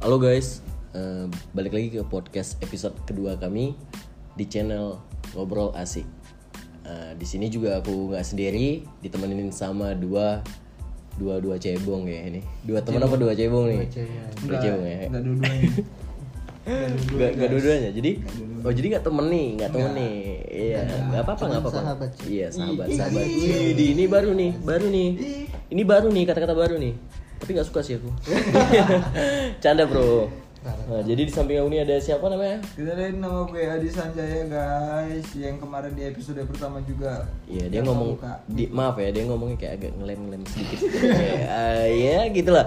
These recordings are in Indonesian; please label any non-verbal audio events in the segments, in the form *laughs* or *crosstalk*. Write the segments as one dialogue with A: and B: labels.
A: Halo guys, eh, balik lagi ke podcast episode kedua kami di channel Ngobrol Asik. Eh, di sini juga aku nggak sendiri, ditemenin sama dua dua dua cebong ya ini. Dua teman apa dua cebong nih? Dua cebong ya.
B: Enggak
A: *laughs*
B: dua-duanya. Nggak dua-duanya.
A: Gak, gak dua-duanya. Jadi oh jadi nggak temen nih, nggak temen nih. Iya, nggak apa-apa, nggak apa-apa.
C: sahabat, cuy.
A: Iya, sahabat, sahabat. Wih, di ini baru nih, baru nih. Ini baru nih, kata-kata baru nih. Tapi nggak suka *laughs* sih aku. Canda, Bro. Nah, jadi di samping aku ini ada siapa namanya?
B: Kita lihat nama gue Adi Sanjaya guys Yang kemarin di episode pertama juga
A: Iya, dia
B: Yang
A: ngomong
B: kebuka.
A: di, maaf ya, dia ngomongnya kayak agak ngelem-ngelem sedikit. Kayak, ah, ya, gitulah.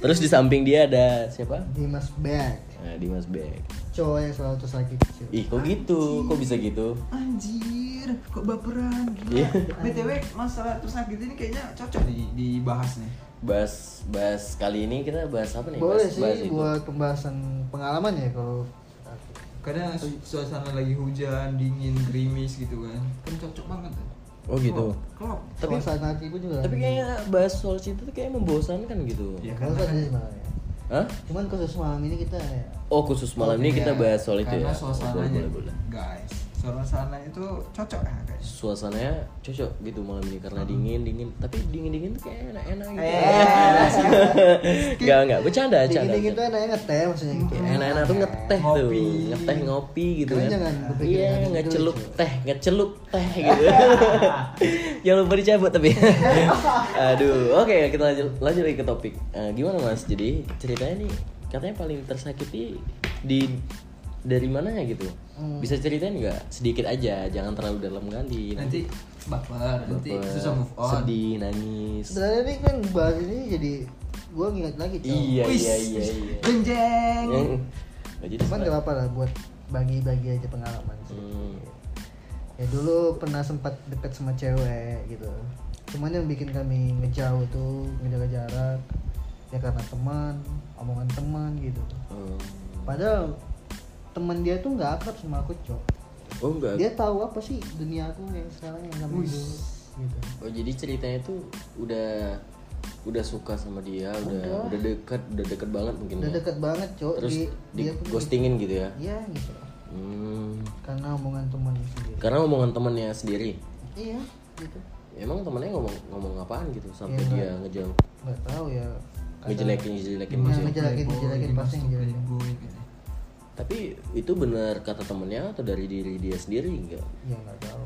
A: Terus di samping dia ada siapa?
C: Dimas Beck
A: Nah, Dimas Bek.
C: cowok yang selalu terus lagi kecil
A: Ih, kok gitu? Kok bisa gitu?
B: Anjir, kok baperan
A: Iya.
B: gila. BTW masalah terus sakit ini kayaknya cocok nih dibahas nih
A: bahas bahas kali ini kita bahas apa nih? bahas,
C: boleh sih
A: bahas itu.
C: buat pembahasan pengalaman ya kalau
B: Karena su- suasana lagi hujan, dingin, gerimis gitu kan Kan cocok banget ya.
A: Oh gitu.
B: Klop, Klop
A: Tapi
C: suasana hati gue juga
A: tapi kayaknya bahas soal cinta tuh kayak membosankan gitu.
B: Ya
C: kalau
B: karena
C: kan sih sebenarnya
A: Hah?
C: cuman khusus malam ini kita ya
A: Oh khusus malam ini kita
B: Iya,
A: bahas soal itu ya.
B: Karena
A: Oh,
B: suasananya
A: boleh, boleh, boleh.
B: guys Suasana itu cocok ya guys
A: Suasananya cocok gitu malam ini karena
C: Hmm.
A: dingin dingin. Tapi dingin dingin tuh kayak enak enak gitu.
B: Eh,
A: Gak *laughs* nggak bercanda bercanda.
C: dingin-dingin tuh
A: bercanda.
C: enaknya ngeteh maksudnya gitu
A: Kayak enak-enak Ya, tuh ngeteh tuh,
B: Ngopi.
A: ngeteh ngopi gitu
C: Kalian
A: kan.
C: jangan berpikir gitu,
A: Iya,
C: negatif dulu,
A: ngecelup
C: cuy.
A: teh, ngecelup teh gitu. *laughs* Jangan lupa dicabut tapi. *laughs* Aduh, oke kita lanjut lanjut lagi ke topik. Eh, gimana Mas? Jadi ceritanya nih katanya paling tersakiti di dari mananya gitu.
C: Hmm.
A: Bisa ceritain nggak? Sedikit aja, jangan terlalu dalam kali.
B: Nanti baper, nanti
A: Iya. baper,
B: susah move on
A: Sedih, nangis.
C: sebenarnya ini kan bahas ini jadi gue ngingat lagi cowok
A: Iya,
B: Wis,
A: iya, iya,
B: wis,
A: iya.
B: Genjeng.
A: Nah, jadi
C: cuman gak apa-apa lah buat bagi-bagi aja pengalaman sih
A: Hmm.
C: ya dulu pernah sempat deket sama cewek gitu cuman yang bikin kami ngejauh tuh ngejaga jarak ya karena teman omongan teman gitu
A: Hmm.
C: padahal teman dia tuh nggak akrab sama aku cok
A: Oh enggak.
C: dia tahu apa sih dunia aku yang sekarang yang sama
B: Wih.
C: dulu gitu
A: Oh jadi ceritanya tuh udah udah suka sama dia, udah
C: Udah.
A: udah dekat, udah dekat banget mungkin.
C: udah
A: ya?
C: deket banget cok
A: Terus di,
C: dia tuh-
A: ghostingin gitu ya.
C: iya gitu
A: Hmm.
C: karena omongan teman sendiri
A: Karena omongan temannya sendiri.
C: iya gitu
A: Emang temennya ngomong ngomong apaan gitu sampai
C: Iya,
A: dia
C: enggak.
A: ngejauh,
C: nggak tahu ya kadang-
A: ngejelekin, ngejelekin
C: Iya,
A: gitu. ya.
C: ngejelekin,
B: Playboy,
C: ngejelekin, pasti
B: dimasukin
C: ngejelekin.
B: playboy gitu.
A: Tapi itu benar kata temennya atau dari diri dia sendiri enggak?
C: ya nggak tahu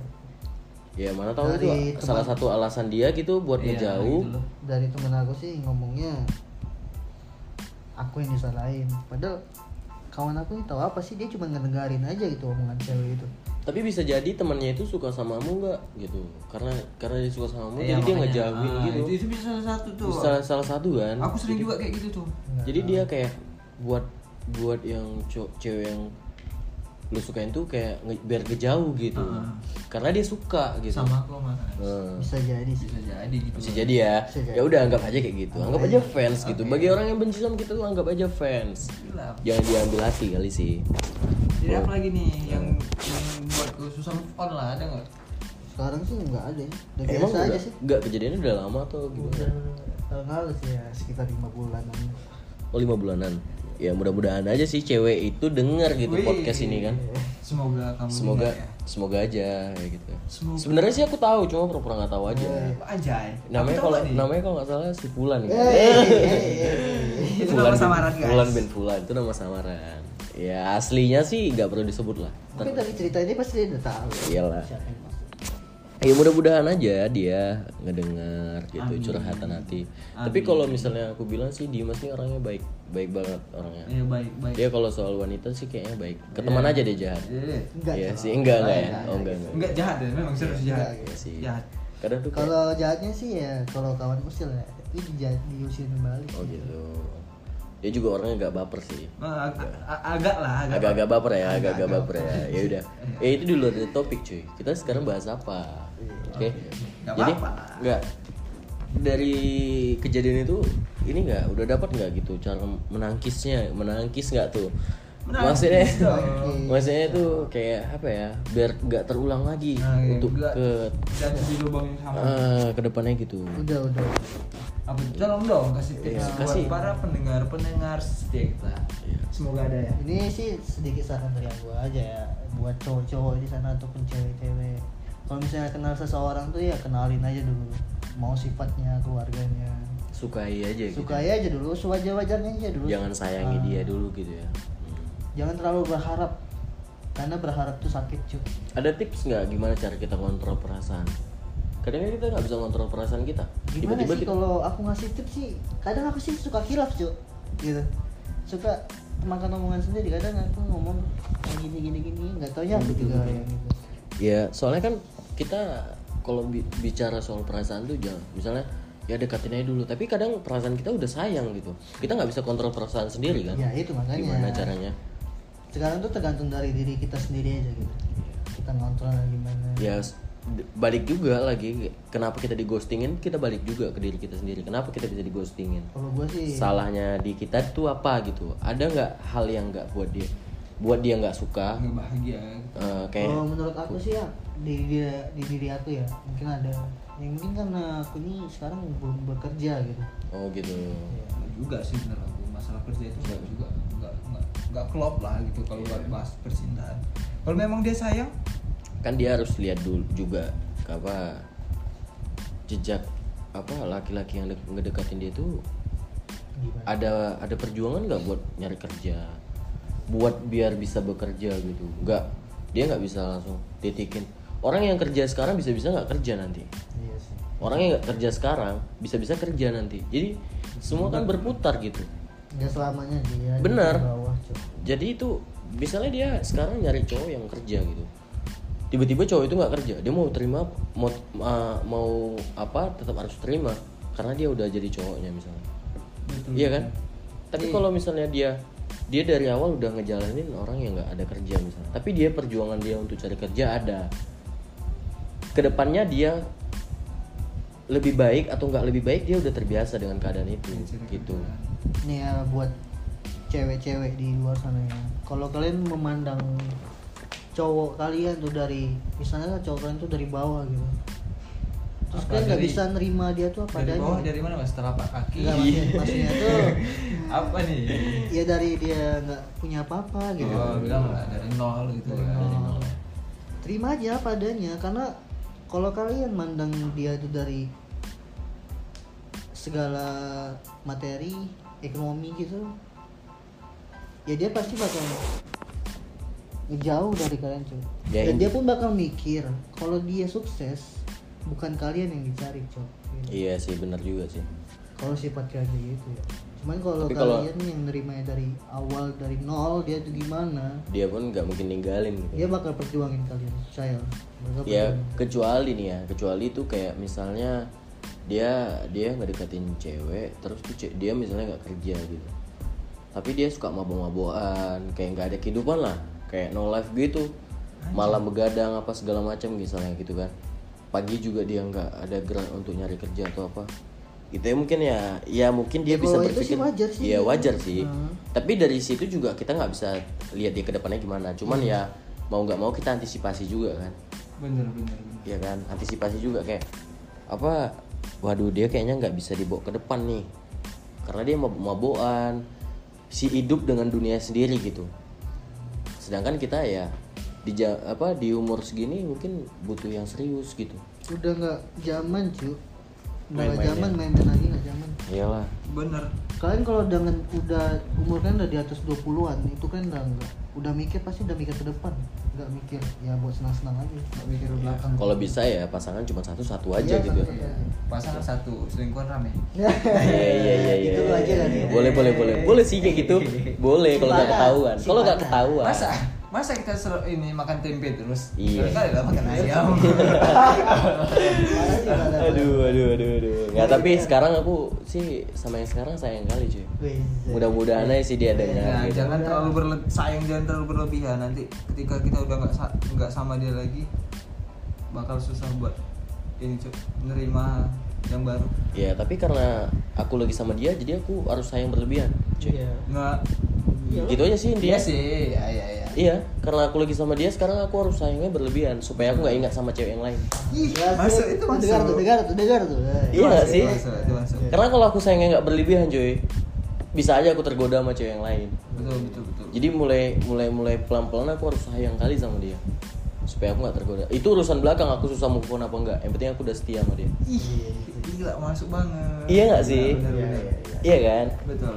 A: Ya mana tahu itu
C: Dari teman-
A: salah satu alasan dia gitu buat
B: Iya,
A: ngejauh.
B: gitu loh.
C: dari temen aku sih ngomongnya aku yang disalahin padahal kawan aku ini tahu apa sih dia cuma ngedengarin aja gitu omongan cewek itu
A: Tapi bisa jadi temannya itu suka samamu enggak gitu. Karena karena dia suka samamu
B: Iya,
A: jadi dia
B: makanya.
A: ngejauhin
B: Ah,
A: gitu.
B: Itu, itu bisa salah satu tuh.
A: salah salah satu kan
B: Aku sering juga kayak gitu tuh.
A: jadi dia kayak buat buat yang co- cewek yang lu sukain tuh kayak nge- biar kejauh gitu
B: Ah.
A: karena dia suka gitu
B: Sama aku sama Alex.
A: Eh,
C: bisa jadi sih
B: Bisa jadi gitu.
A: bisa jadi ya
C: Bisa jadi.
A: ya udah anggap aja kayak gitu anggap aja fans gitu bagi orang yang benci sama kita tuh anggap aja fans
B: Gila.
A: jangan diambil hati kali sih
B: Jadi apa lagi nih yang yang buatku susah move on lah ada nggak?
C: sekarang sih nggak ada ya. udah
A: emang
C: biasa aja
A: enggak,
C: sih
A: enggak kejadiannya udah lama atau
C: udah
A: gimana
C: tahun lalu sih ya sekitar lima bulanan
A: oh lima bulanan ya mudah-mudahan aja sih cewek itu denger gitu
B: Wih.
A: podcast ini kan
B: Semoga kamu
A: semoga
B: dengar ya.
A: semoga aja ya gitu
B: Semoga.
A: sebenarnya sih aku tahu cuma pura-pura nggak tahu aja
B: Anjay.
A: Iya. namanya
B: Kamu
A: kalau
B: tahu nggak nih? Iya,
A: namanya kalau nggak salah si Pulan ya *laughs*
B: itu nama
A: bin-
B: samaran guys.
A: Pulan bin Pulan itu nama samaran ya aslinya sih nggak perlu disebut lah
C: mungkin dari cerita ini pasti dia udah tahu
A: iyalah
C: siapa yang masuk
A: ya mudah-mudahan aja dia ngedengar gitu curhatan hati tapi kalau misalnya aku bilang sih Dimas nih orangnya baik baik banget orangnya
B: Iya baik baik.
A: dia kalau soal wanita sih kayaknya baik ke teman aja dia jahat
B: Iya, iya.
C: enggak
A: Iya
C: Cok.
A: sih enggak enggak ya
C: Enggak,
A: oh enggak enggak
B: Enggak jahat deh, memang serius jahat.
C: enggak,
A: Iya sih
B: Jahat.
A: kadang tuh kayak-
C: kalau jahatnya sih ya kalau kawan usil ya itu dijahat diusirin balik
A: Oh gitu. Dia juga orangnya agak baper sih.
B: Nah, ag- ag- agak lah, agak.
A: Agak-agak baper ya, agak-agak baper ya. Ya udah. Ya itu di luar dari topik cuy. Kita sekarang bahas apa? Oke.
B: Nggak
A: Jadi
B: apa-apa.
A: nggak dari kejadian itu ini nggak udah dapat nggak gitu cara menangkisnya menangkis nggak tuh
B: Menangkis
A: maksudnya
B: dong.
A: maksudnya tuh kayak apa ya biar nggak terulang lagi
B: Nah, iya,
A: untuk
B: nggak.
A: ke
B: Jatuh di lubang yang sama.
A: eh, ke depannya gitu
C: udah udah
B: apa tolong dong kasih tips
A: Iya,
B: buat
A: kasih.
B: para pendengar pendengar setia kita
A: Iya.
B: semoga ada ya
C: ini sih sedikit saran dari aku aja ya buat cowok-cowok di sana ataupun cewek-cewek kalau misalnya kenal seseorang tuh ya kenalin aja dulu mau sifatnya keluarganya
A: sukai aja gitu
C: sukai aja dulu sewajar wajarnya aja dulu
A: jangan sayangi
C: Ah,
A: dia dulu gitu ya Hmm.
C: jangan terlalu berharap karena berharap tuh sakit cuy
A: ada tips nggak gimana cara kita kontrol perasaan kadang kita nggak bisa kontrol perasaan kita tiba-tiba
C: gimana
A: gitu.
C: sih
A: kita
C: kalau aku ngasih tips sih kadang aku sih suka hilaf cuy gitu suka makan omongan sendiri kadang aku ngomong kayak gini gini gini nggak taunya
A: Oh,
C: aku juga yang gitu
A: ya soalnya kan kita kalau bi- bicara soal perasaan tuh jangan misalnya ya dekatin aja dulu tapi kadang perasaan kita udah sayang gitu kita nggak bisa kontrol perasaan sendiri kan
C: ya itu makanya
A: gimana caranya
C: sekarang tuh tergantung dari diri kita sendiri aja gitu kita ngontrolnya gimana
A: ya s- d- balik juga lagi kenapa kita digostingin kita balik juga ke diri kita sendiri kenapa kita bisa digostingin
C: kalau gue sih
A: salahnya di kita tuh apa gitu ada nggak hal yang nggak buat dia buat dia nggak
C: Hmm.
A: suka
B: nggak bahagia
A: eh, kayak
C: kalau menurut aku sih ya di diri, di diri aku ya mungkin ada yang mungkin karena aku ini sekarang belum bekerja gitu
A: oh gitu
C: Ya.
B: Nggak juga sih bener aku masalah kerja itu nggak juga nggak nggak nggak klop lah gitu kalau
A: Iya.
B: buat bahas percintaan kalau memang dia sayang
A: kan dia harus lihat dulu juga apa jejak apa laki-laki yang de- ngedekatin dia tuh
C: gimana
A: ada ada perjuangan nggak buat nyari kerja buat biar bisa bekerja gitu nggak dia nggak bisa langsung titikin orang yang kerja sekarang bisa-bisa nggak kerja nanti
C: iya sih
A: orang yang nggak kerja sekarang bisa-bisa kerja nanti jadi semua kan berputar gitu
C: nggak selamanya dia di
A: Bener.
C: bawah cuy
A: jadi itu misalnya dia sekarang nyari cowok yang kerja gitu tiba-tiba cowok itu nggak kerja dia mau terima mau ma- mau apa tetap harus terima karena dia udah jadi cowoknya misalnya
B: betul
A: iya kan tapi kalau misalnya dia dia dari awal udah ngejalanin orang yang nggak ada kerja misalnya tapi dia perjuangan dia untuk cari kerja ada kedepannya dia lebih baik atau nggak lebih baik dia udah terbiasa dengan keadaan itu
B: Iya, cara
A: gitu
B: kerjaan.
C: Nih ya buat cewek-cewek di luar sana ya. Kalau kalian memandang cowok kalian tuh dari misalnya cowok kalian tuh dari bawah gitu. Terus
B: Apa,
C: kalian nggak
B: dari-
C: bisa nerima dia tuh apa
B: dari
C: adanya.
B: bawah dari mana mas telapak kaki
C: Nggak,
B: *laughs*
C: maksudnya- maksudnya tuh
B: apa nih
C: ya dari dia nggak punya apa-apa gitu.
B: oh, bilang lah dari nol gitu
C: Dari
B: kan.
C: nol. Terima aja apa adanya karena kalau kalian mandang dia itu dari segala materi, ekonomi gitu, ya dia pasti bakal jauh dari kalian cuy.
A: Ya,
C: Dan
A: ini-
C: dia pun bakal mikir kalau dia sukses bukan kalian yang dicari cuy.
A: iya sih benar juga sih
C: Kalau sifat kayak gitu ya. Cuman kalau
A: Tapi kalau-
C: kalian yang nerimanya dari awal dari nol dia tuh gimana?
A: dia pun nggak mungkin ninggalin gitu.
C: dia bakal perjuangin kalian saya
A: ya
C: bakal perjuangin.
A: kecuali nih ya kecuali tuh kayak misalnya dia dia nggak deketin cewek terus tuh ce- dia misalnya nggak kerja gitu tapi dia suka mabok-mabokan kayak nggak ada kehidupan lah kayak no life gitu malam begadang apa segala macam misalnya gitu kan pagi juga dia nggak ada gerak untuk nyari kerja atau apa itu ya mungkin ya ya mungkin dia
C: Ya,
A: bisa
C: kalau itu
A: berpikir
C: sih wajar sih.
A: ya wajar sih
C: Hmm.
A: tapi dari situ juga kita nggak bisa lihat dia kedepannya gimana cuman ya
C: Iya.
A: mau nggak mau kita antisipasi juga kan
B: bener bener bener
A: ya kan antisipasi juga kayak apa waduh dia kayaknya nggak bisa dibawa ke depan nih karena dia mabok-mabokan si hidup dengan dunia sendiri gitu sedangkan kita ya di ja- apa di umur segini mungkin butuh yang serius gitu
C: udah nggak zaman cu udah nggak
A: Main-mainnya.
C: zaman main-main lagi nggak zaman
A: iyalah
B: bener
C: kalian kalau dengan udah umur kan udah di atas 20-an itu kan udah nggak udah mikir pasti udah mikir ke depan nggak mikir ya buat senang-senang aja nggak mikir ke belakang
A: kalau
C: *laughs*
A: bisa ya pasangan cuma satu satu aja
C: Iya,
A: gitu
C: satu aja.
B: pasangan satu selingkuhan rame
A: Iya iya iya iya.
C: Itu aja kali ya.
A: Boleh boleh boleh. Boleh sih kayak
C: *laughs*
A: gitu. Boleh kalau nggak
C: Simpanan.
A: ketahuan. Kalau nggak
C: Simpanan.
A: ketahuan.
B: masa masa kita seru ini makan tempe terus
A: Iya.
B: kali lah makan *laughs* ayam Iya,
C: Parah sih, parah.
A: aduh aduh aduh aduh nggak tapi sekarang aku sih sama yang sekarang sayang kali cuy
C: Wih, iya.
A: mudah-mudahan aja sih dia dengar
B: Nah,
A: gitu.
B: jangan terlalu berle- sayang jangan terlalu berlebihan nanti ketika kita udah nggak sa- nggak sama dia lagi bakal susah buat ini Cuk, nerima yang baru
A: ya tapi karena aku lagi sama dia jadi aku harus sayang berlebihan cuy
C: Iya.
B: nggak
A: gitu aja sih
B: iya
A: dia
B: sih ya ya ya
A: Iya, karena aku lagi sama dia sekarang aku harus sayangnya berlebihan supaya aku nggak ingat sama cewek yang lain.
C: Ih,
B: Iya. masuk, itu masuk.
C: Dengar tuh, dengar tuh, dengar tuh. Eh,
A: Iya nggak
B: Masuk,
A: sih?
B: masuk, itu masuk.
C: Iya.
A: Karena kalau aku sayangnya nggak berlebihan, cuy, bisa aja aku tergoda sama cewek yang lain.
B: betul betul betul
A: Jadi mulai mulai mulai pelan pelan aku harus sayang kali sama dia supaya aku nggak tergoda. Itu urusan belakang aku susah move on apa enggak. Yang penting aku udah setia sama dia.
B: ih gila masuk banget
A: Iya nggak sih?
B: benar
C: Iya,
B: benar
C: iya, iya.
A: Iya kan?
B: betul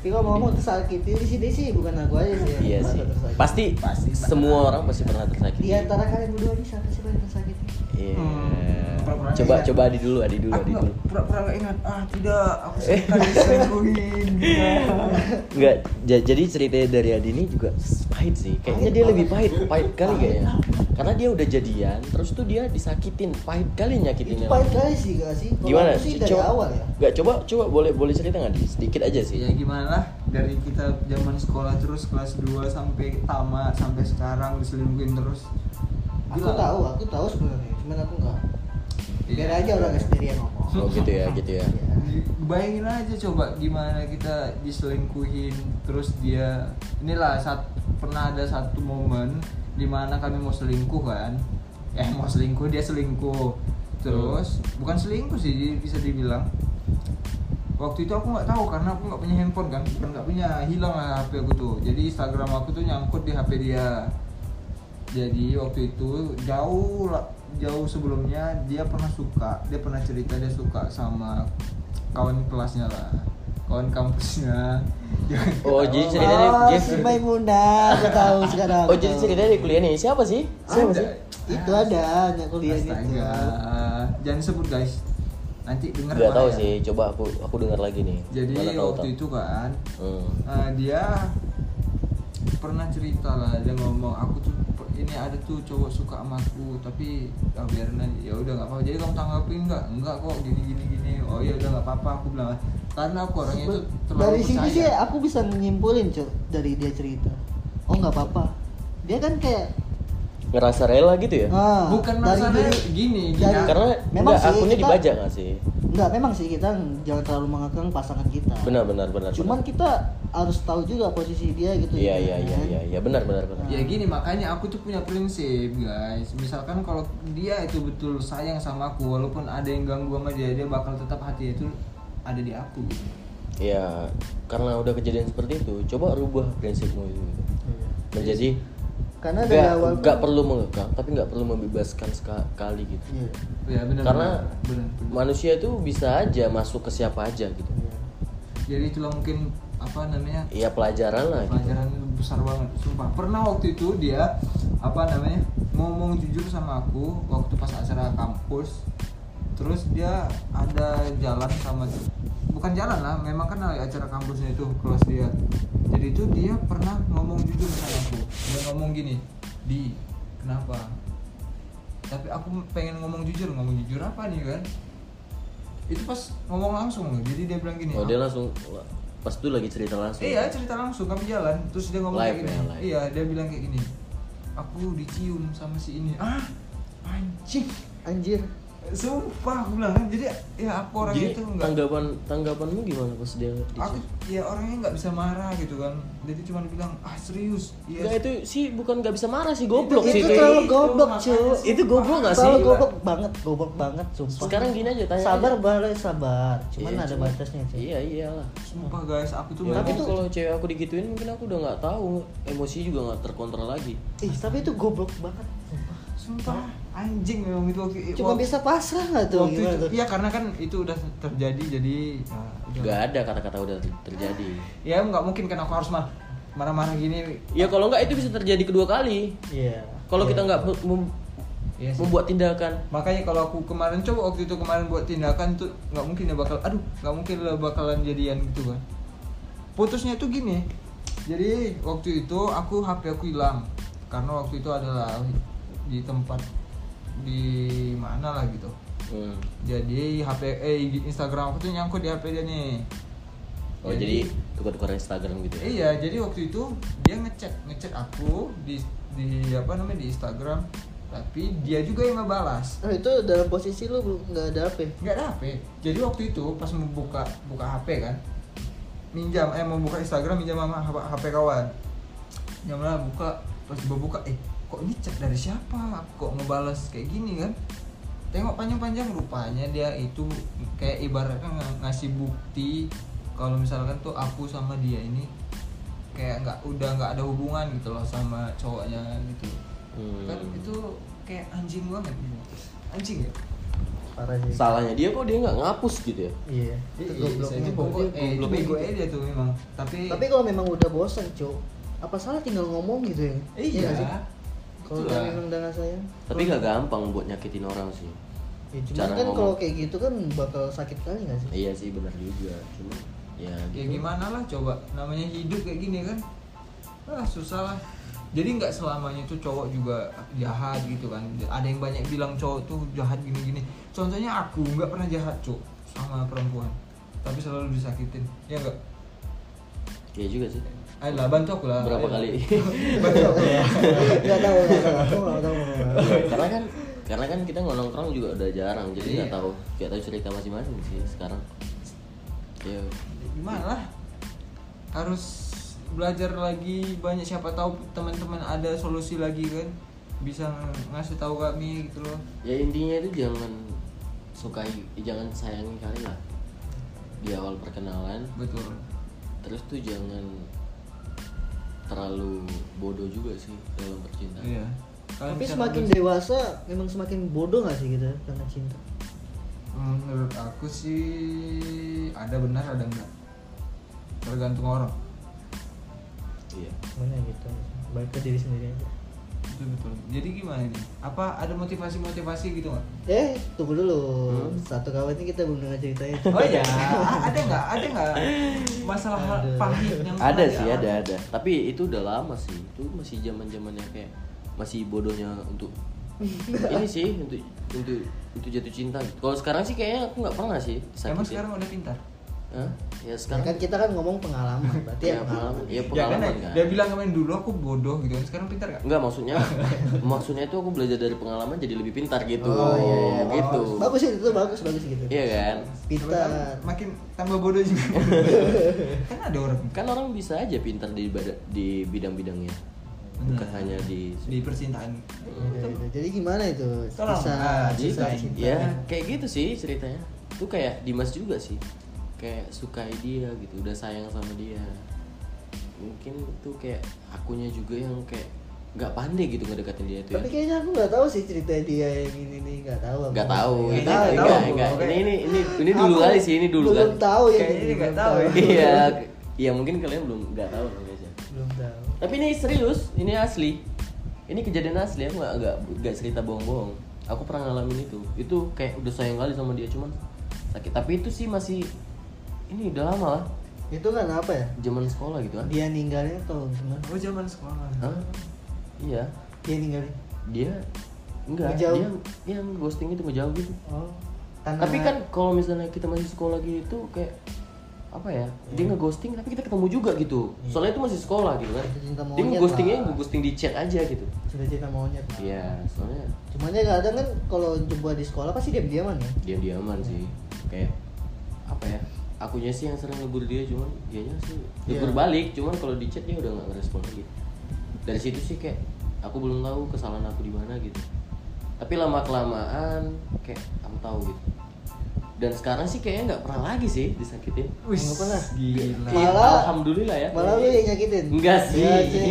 C: Tapi kalau ngomong tersakiti di sini sih bukan aku aja sih.
A: Iya
C: Aku
A: sih.
C: tersakiti.
A: Pasti,
B: Pasti pernah.
A: semua orang pasti pernah tersakiti.
C: Di Iya, antara kalian berdua nih siapa sih paling tersakiti?
A: Iya.
B: Hmm, pura-pura
A: Coba
B: ingat.
A: coba Adi dulu, Adi dulu,
B: aku
A: Adi
B: nggak
A: dulu.
B: pura-pura nggak ingat ah tidak aku suka diselingkuhin Iya.
A: Enggak, ja- jadi ceritanya dari Adi ini juga pahit sih. Kayaknya
C: Pahit
A: dia
C: banget.
A: lebih pahit, pahit kali
C: Pahit
A: kayaknya. Karena dia udah jadian, terus tuh dia disakitin, pahit kali
C: Itu
A: nyakitinnya.
C: pahit kali sih gak sih? Kalau
A: Gitu Gimana?
C: aku sih dari
A: Coba-
C: awal ya.
A: Enggak, coba coba boleh boleh cerita nggak Di? Sedikit aja
B: ya
A: sih.
B: gimana lah dari kita zaman sekolah terus kelas 2 sampai tamat sampai sekarang diselingkuhin terus
C: Aku tahu, aku tahu sebenarnya, cuman aku enggak. Biar
B: Iya.
C: aja orang sendiri yang ngomong.
A: Oh gitu ya, gitu ya.
C: Iya.
B: bayangin aja coba gimana kita diselingkuhin terus dia inilah saat pernah ada satu momen dimana kami mau selingkuh kan eh mau selingkuh dia selingkuh terus bukan selingkuh sih bisa dibilang waktu itu aku nggak tahu karena aku nggak punya handphone kan Bukan nggak punya hilang lah HP aku tuh jadi Instagram aku tuh nyangkut di HP dia jadi waktu itu jauh la- jauh sebelumnya dia pernah suka dia pernah cerita dia suka sama kawan kelasnya lah kawan
A: *laughs*
B: kampusnya Jangan
A: Oh,
B: ketawa,
A: jadi ceritanya
B: Mas.
C: Oh,
A: dia-
C: si Maimunah, aku tahu sekarang.
A: *laughs* Oh
C: aku
A: jadi
C: tahu.
A: ceritanya di kuliah nih, siapa sih? Siapa
B: Ada.
A: sih?
C: itu ada anak kuliah gitu.
B: Astaga. jangan sebut guys nanti denger
A: Gak tahu
B: bahaya.
A: sih, coba aku aku dengar lagi nih.
B: ya. jadi
A: Mana tahu,
B: waktu
A: tahu.
B: itu kan
A: Hmm.
B: eh, dia pernah cerita lah dia ngomong aku tuh pe- ini ada tuh cowok suka sama aku tapi ah, biarin aja ya udah nggak apa-apa jadi kamu tanggapin nggak nggak kok gini gini gini oh ya udah nggak apa-apa aku bilang karena aku orangnya itu terlalu
C: dari sini
B: percaya
C: sih aku bisa menyimpulin cok dari dia cerita oh nggak apa-apa dia kan kayak
A: Ngerasa rela gitu ya?
C: ah,
B: bukan
C: dari
B: masalah
C: diri-
B: gini gini
C: dari-
A: Karena enggak,
C: Memang sih,
A: akunnya
C: kita-
A: dibajak nggak sih?
C: nggak memang sih kita jangan terlalu mengekang pasangan kita
A: Benar benar benar.
C: cuman
A: benar.
C: kita harus tahu juga posisi dia gitu
A: Iya
C: ya
A: iya iya
C: kan?
A: iya iya benar benar benar.
B: ya gini makanya aku tuh punya prinsip guys misalkan kalau dia itu betul sayang sama aku walaupun ada yang ganggu sama dia dia bakal tetap hatinya itu ada di aku gitu.
A: Iya, karena udah kejadian seperti itu, coba rubah prinsipmu itu. gitu. Menjadi
C: karena dari
A: nggak
C: awal
A: nggak perlu mengekang, tapi nggak perlu membebaskan sekali gitu.
C: Iya,
B: ya benar
A: Karena
B: benar, benar.
A: manusia itu bisa aja masuk ke siapa aja gitu.
C: iya.
B: jadi itulah mungkin apa namanya
A: Iya pelajaran lah. Gitu.
B: pelajaran besar banget sumpah pernah waktu itu dia apa namanya ngomong jujur sama aku waktu pas acara kampus terus dia ada jalan sama bukan jalan lah memang kan ada acara kampusnya itu kelas dia jadi itu dia pernah ngomong jujur sama aku dia ngomong gini di kenapa tapi aku pengen ngomong jujur ngomong jujur apa nih kan itu pas ngomong langsung loh jadi dia bilang gini
A: Oh, dia
B: "Aku-
A: langsung pas itu lagi cerita langsung.
B: ya. Iya cerita langsung kami jalan terus dia ngomong
A: Live
B: kayak gini.
A: ya, live.
B: Iya dia bilang kayak gini. Aku dicium sama si ini. Ah anjing.
C: anjir
B: Sumpah aku bilang kan jadi ya aku orangnya
A: Jadi
B: itu enggak.
A: tanggapan tanggapanmu gimana pas dia?
B: Aku ya orangnya nggak bisa marah gitu kan. Jadi cuma bilang ah serius. Iya.
A: Enggak itu sih bukan nggak bisa marah sih goblok
C: Itu-
A: sih
C: itu
A: kayak-
C: terlalu
B: Itu
C: goblok
B: makanya
C: cuy
B: sumpah.
A: Itu goblok nggak sih?
C: Terlalu goblok banget, goblok banget sumpah.
A: Sekarang gini aja, tanya
C: Sabar
A: aja.
C: balai sabar, cuman
A: Iya,
C: ada
A: cuma-
C: batasnya cuy.
A: Iya iyalah.
B: Sumpah guys aku tuh
A: Ya,
B: memang
A: tapi
C: itu-
A: kalau cewek aku digituin mungkin aku udah nggak tahu emosi juga nggak terkontrol lagi
C: Ih, tapi itu goblok banget. sumpah.
B: sumpah anjing memang itu waktu
A: Iya,
C: Cuma
B: waktu-
C: bisa pasrah nggak tuh?
B: waktu
C: Gimana
B: itu.
C: tuh?
B: Iya karena kan itu udah terjadi jadi ya, udah.
A: nggak ada kata-kata udah ter- terjadi
B: ya nggak mungkin kan aku harus mah marah-marah gini
A: ya kalau nggak itu bisa terjadi kedua kali
C: Iya.
A: kalau
C: Iya.
A: kita nggak mem- mem-
B: Iya sih.
A: membuat tindakan
B: makanya kalau aku kemarin coba waktu itu kemarin buat tindakan tuh nggak mungkin ya bakal aduh nggak mungkin lah bakalan jadian gitu kan putusnya tuh gini jadi waktu itu aku HP aku hilang karena waktu itu adalah di tempat di mana lah gitu
A: Hmm.
B: jadi HP eh Instagram aku tuh nyangkut di HP dia nih
A: oh jadi tukar-tukar Instagram gitu ya
B: Iya, jadi waktu itu dia ngecek ngecek aku di di apa namanya di Instagram, tapi dia juga yang ngebalas.
C: Oh, itu dalam posisi lu belum nggak ada apa? ya?
B: nggak ada HP jadi waktu itu pas mau buka buka HP kan minjam eh mau buka Instagram minjam sama HP, HP kawan jam lah buka pas tiba buka eh kok ini chat dari siapa kok ngebalas kayak gini kan tengok panjang-panjang rupanya dia itu kayak ibaratnya ng- ngasih bukti kalau misalkan tuh aku sama dia ini kayak nggak udah nggak ada hubungan gitu loh sama cowoknya gitu
A: Hmm.
B: kan itu kayak anjing banget gitu. anjing ya
C: parah sih
A: Salahnya dia kok dia nggak ngapus gitu ya?
C: iya itu gobloknya
B: itu pokok eh itu
C: Gobloknya
B: bego
C: gitu.
B: aja dia tuh memang tapi
C: tapi kalau memang udah bosan cuk apa salah tinggal ngomong gitu ya
B: iya
C: nggak sih? kalau udah
B: Itulah.
C: memang udah nggak sayang
A: Tapi nggak gampang buat nyakitin orang sih.
C: ya cuman
A: Cara
C: kan
A: ngomong.
C: kalau kayak gitu kan bakal sakit kali nggak sih
A: Iya sih benar juga. Cuma ya
B: ya
A: gitu.
B: gimana lah coba namanya hidup kayak gini kan ah susah lah jadi nggak selamanya tuh cowok juga jahat gitu kan ada yang banyak bilang cowok tuh jahat gini gini contohnya aku nggak pernah jahat cowok sama perempuan tapi selalu disakitin ya nggak
A: Iya juga sih.
B: ayolah bantu aku lah
A: Berapa
B: Ayolah.
A: kali?
B: *laughs*
A: *laughs* Iya.
B: bantu aku lah
C: nggak tahu nggak tahu aku *laughs* nggak tahu
B: *laughs*
A: karena kan karena kan kita nggak nongkrong juga udah jarang jadi nggak
B: Iya.
A: tahu nggak tahu cerita masing-masing sih sekarang ya
B: Ya gimana lah harus belajar lagi banyak siapa tahu teman-teman ada solusi lagi kan bisa ng- ngasih tahu kami gitu loh
A: ya intinya itu jangan sukai jangan sayangi kali lah di awal perkenalan
B: betul
A: terus tuh jangan terlalu bodoh juga sih dalam percintaan
B: iya Kalian
C: tapi
B: bisa
C: semakin
B: nulis.
C: dewasa memang semakin bodoh nggak sih gitu karena cinta
B: menurut aku sih ada benar ada enggak tergantung orang
A: Iya.
C: mana gitu balik ke diri sendiri aja
B: betul betul jadi gimana nih apa ada motivasi motivasi gitu nggak
C: eh tunggu dulu satu kawan ini kita belum dengar ceritanya
B: oh iya *laughs* ada nggak ada nggak masalah hal
C: Ada.
B: pahit yang
A: ada
B: pernah
A: sih
B: dialami?
A: ada ada tapi itu udah lama sih itu masih zaman zamannya kayak masih bodohnya untuk ini sih untuk untuk untuk jatuh cinta gitu. kalau sekarang sih kayaknya aku nggak pernah sih
B: emang
A: disakitin.
B: sekarang udah pintar
A: Hah? ya
C: Ya
A: sekarang
C: kan kita kan ngomong pengalaman
A: ya
C: berarti ya
A: pengalaman ya
B: Ya kan,
A: pengalaman kan
B: dia bilang kemarin dulu aku bodoh gitu kan sekarang pintar nggak
A: Enggak
C: *laughs*
A: maksudnya maksudnya itu aku belajar dari pengalaman jadi lebih pintar gitu
C: Oh, iya, iya.
A: gitu
C: bagus itu bagus bagus gitu
A: iya kan
C: Pintar.
B: makin tambah bodoh
A: *laughs*
B: juga kan ada orang
A: kan orang bisa aja pintar di bada- di bidang-bidangnya bukan
B: Benar.
A: hanya di
B: di percintaan
C: Iya, gitu. jadi gimana itu Iya,
B: Tolong, ah,
A: Jadi
B: cinta,
C: bisa
A: kayak-
C: cinta
A: ya kayak gitu sih ceritanya tuh kayak Dimas juga sih kayak sukai dia gitu udah sayang sama dia mungkin itu kayak akunya juga yang kayak nggak pandai gitu ngedekatin dia tuh ya
C: tapi gitu. kayaknya aku nggak tahu sih cerita dia yang ini nih nggak tahu aku.
A: nggak tahu ini
B: Nggak tahu,
A: enggak,
B: Bu.
A: enggak. ini ini ini ini
C: Aku
A: dulu kali sih ini dulu
C: belum
A: kali
C: tahu ya
B: Kayaknya
C: ini,
B: nggak
C: belum
B: tahu ya.
A: iya iya mungkin kalian belum nggak tahu guys ya.
C: *laughs* belum tahu
A: tapi ini serius ini asli ini kejadian asli aku nggak nggak nggak cerita bohong-bohong aku pernah ngalamin itu itu kayak udah sayang kali sama dia cuman sakit tapi itu sih masih ini udah lama lah
C: itu kan apa ya
A: zaman sekolah gitu kan
C: dia ninggalin atau gimana
B: aku Oh, zaman sekolah
A: Hah? iya
C: dia ninggalin
A: dia enggak
C: Ngejauh.
A: dia yang ghosting itu ngejauh gitu
C: oh karena-
A: tapi kan kalau misalnya kita masih sekolah gitu kayak apa ya dia ngeghosting tapi kita ketemu juga gitu
C: Hmm. Iya.
A: soalnya itu masih sekolah gitu kan
C: Itu cinta
A: dia
C: monyet
A: ngeghostingnya
C: lah.
A: ngeghosting di chat aja gitu
C: sudah cinta monyet lah.
A: iya soalnya
C: cuman ya kadang kan kalau jumpa di sekolah pasti diam diaman ya
A: diam diaman sih kayak apa ya akunya sih yang sering ngebul dia cuman dianya sih
C: Iya.
A: ngebul balik cuman kalau di chat dia udah nggak ngerespon lagi dari situ sih kayak aku belum tahu kesalahan aku di mana gitu tapi lama kelamaan kayak aku tahu gitu dan sekarang sih kayaknya nggak pernah lagi sih disakitin
B: wis
C: Nggak pernah.
B: gila
A: Iya,
C: Malah-
A: alhamdulillah ya
C: malah lu yang nyakitin
A: Enggak sih.
C: Iya sih.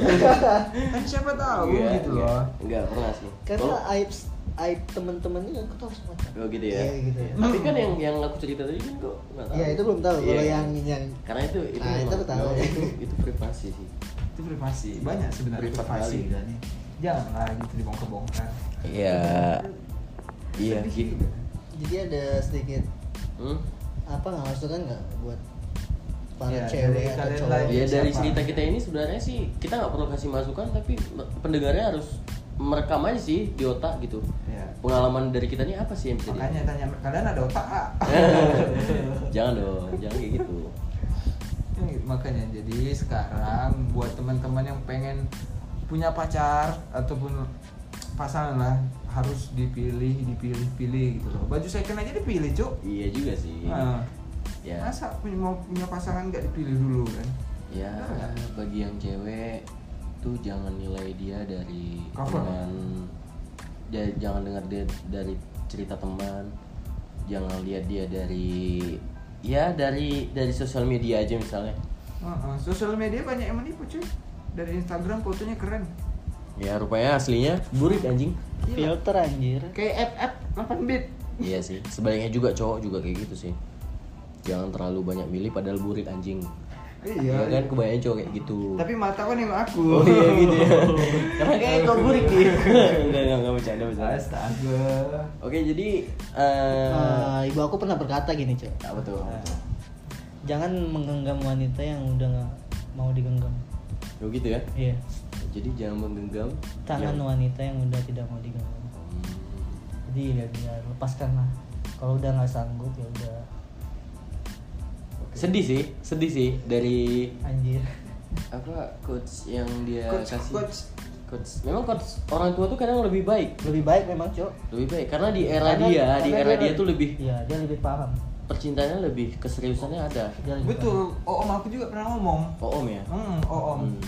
A: *laughs*
B: kan siapa tahu
A: Enggak,
B: gitu
A: enggak.
B: loh
A: Enggak Iya, pernah sih.
C: karena
A: Kalau-
C: Kan aib aib temen-temennya aku tahu semua
A: Oh gitu ya.
C: Iya, gitu ya.
A: Tapi kan yang yang aku cerita tadi kan kok enggak tahu.
C: Iya itu belum tahu kalau
A: Iya.
C: yang yang
A: karena itu itu
C: Ah, itu
A: memang-
C: aku tahu.
A: memang itu, itu privasi sih.
B: itu privasi banyak sebenarnya
A: Privat
B: privasi
A: kali.
B: dan janganlah gitu dibongkar-bongkar
A: Iya. Iya gitu.
C: jadi ada sedikit
A: Hmm?
C: apa nggak masuk kan nggak buat para
B: Iya,
C: cewek
B: dari
C: atau
B: kalian
C: cowok
B: lagi.
A: Ya dari
B: Siapa?
A: cerita kita ini sebenarnya sih kita nggak perlu kasih masukan tapi pendengarnya harus merekam aja sih di otak gitu.
B: Iya.
A: Pengalaman dari kita ini apa sih yang bisa di-
B: makanya tanya kalian ada otak nggak?
A: *laughs* jangan dong, jangan kayak gitu.
B: Ya, makanya jadi sekarang buat teman-teman yang pengen punya pacar ataupun pasangan lah harus dipilih dipilih-pilih gitu loh baju second aja dipilih cuk
A: Iya juga sih.
B: Nah,
C: Ah.
A: Ya.
B: masa punya mau punya pasangan nggak dipilih dulu kan
A: ya bagi yang cewek tuh jangan nilai dia dari
B: Cover.
A: teman ja- jangan dengar dia dari cerita teman jangan lihat dia dari ya dari dari sosial media aja misalnya
B: Heeh, sosial Ah, media banyak yang menipu cuy dari Instagram fotonya keren
A: ya rupanya aslinya burik anjing
C: filter anjir
B: kayak app app 8 bit
A: iya sih sebaliknya juga cowok juga kayak gitu sih jangan terlalu banyak milih padahal burik anjing Iya kan kebanyakan cowok kayak gitu
B: tapi mata kan nengok
A: Oh
B: aku
A: iya gitu ya.
B: *laughs*
A: Karena kayak kau burik iya. dia. Enggak enggak enggak bercanda bercanda.
B: astaga
A: Oke jadi eh
C: Eh, ibu aku pernah berkata gini cok
A: apa tuh?
C: jangan menggenggam wanita yang udah nggak mau digenggam
A: Ya gitu ya.
C: iya
A: Jadi jangan menggenggam
B: Iya.
C: tangan
A: yang-
C: wanita yang udah tidak mau digenggam
A: Hmm.
C: jadi ya biar lepaskan lah kalau udah nggak sanggup ya udah
A: Sedih sih, sedih sih dari
C: anjir *laughs*
A: apa coach yang dia
B: Coach,
A: kasih.
B: coach.
A: Coach. Memang coach orang tua tuh kadang lebih baik.
C: lebih baik memang cok
A: Lebih baik karena di era
C: Karena-
A: dia,
C: karena
A: di era dia tuh lebih
C: iya dia lebih paham
A: percintaannya lebih keseriusannya ada.
C: Dia lebih
B: betul Oh, om aku juga pernah ngomong
A: Oh, om ya.
B: hmm, om
A: Hmm.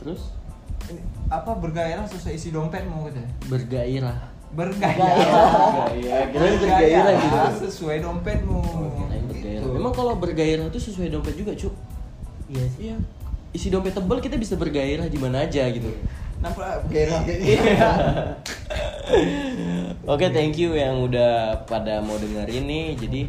A: Terus Hmm.
B: Ini apa bergairah sesuai isi gitu ya? dompet mau katanya
A: bergairah.
B: bergairah
A: Bergairah. Kirain bergairah gitu.
B: sesuai dompetmu
A: Kirain bergairah.
B: Gitu.
A: Memang kalau bergairah itu sesuai dompet juga, Cuk.
C: paham. iya sih
A: Iya. Isi dompet tebal kita bisa bergairah di mana aja gitu.
B: nampak bergairah
A: *laughs* Oke, thank you yang udah pada mau dengerin nih. Jadi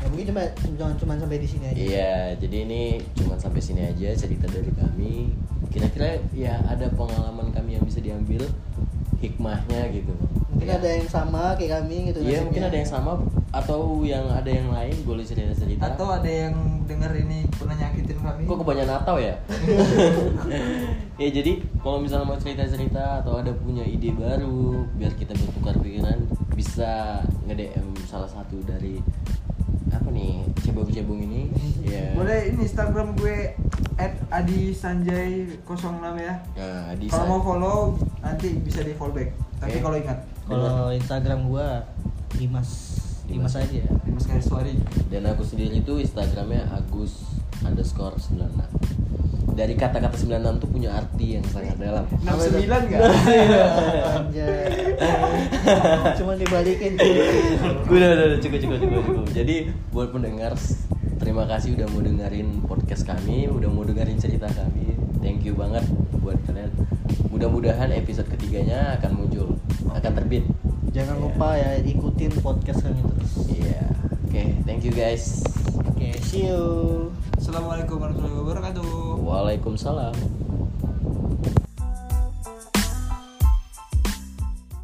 C: ya mungkin cuma jangan cuma sampai di sini aja
A: iya, jadi ini cuman sampai sini aja cerita dari kami. Kira-kira ya ada pengalaman kami yang bisa diambil hikmahnya gitu.
C: mungkin
A: Ya.
C: ada yang sama kayak kami gitu
A: Iya,
C: nasibnya.
A: mungkin ada yang sama atau yang ada yang lain boleh cerita-cerita.
B: atau ada yang denger ini pernah nyakitin kami
A: Kok kebanyakan atau
B: *laughs*
A: ya? ya jadi kalau misalnya mau cerita-cerita atau ada punya ide baru biar kita bertukar pikiran bisa nge-DM salah satu dari apa nih cebong-cebong ini ya
B: boleh ini Instagram gue @adi_sanjay 06 ya
A: nah di
B: kalau mau follow nanti bisa di follow back
A: Oke.
B: tapi kalau ingat
C: kalau Instagram gua Dimas
A: Dimas.
C: Dimas aja ya.
B: Dimas Garis Suari
A: dan aku sendiri itu Instagramnya Agus underscore 96 dari kata-kata 96 tuh punya arti yang sangat dalam
B: 69
C: *laughs*
B: enggak?
C: Iya. Anjay. cuma dibalikin
A: *laughs* udah, udah, udah, cukup, cukup, cukup, cukup. Jadi buat pendengar, terima kasih udah mau dengerin podcast kami, udah mau dengerin cerita kami. Thank you banget buat kalian. Mudah-mudahan episode ketiganya akan muncul, akan terbit.
C: jangan
A: Iya.
C: lupa ya ikutin podcast kami terus
A: Iya. Oke, thank you guys.
C: oke see you
B: Assalamualaikum warahmatullahi wabarakatuh
A: Waalaikumsalam.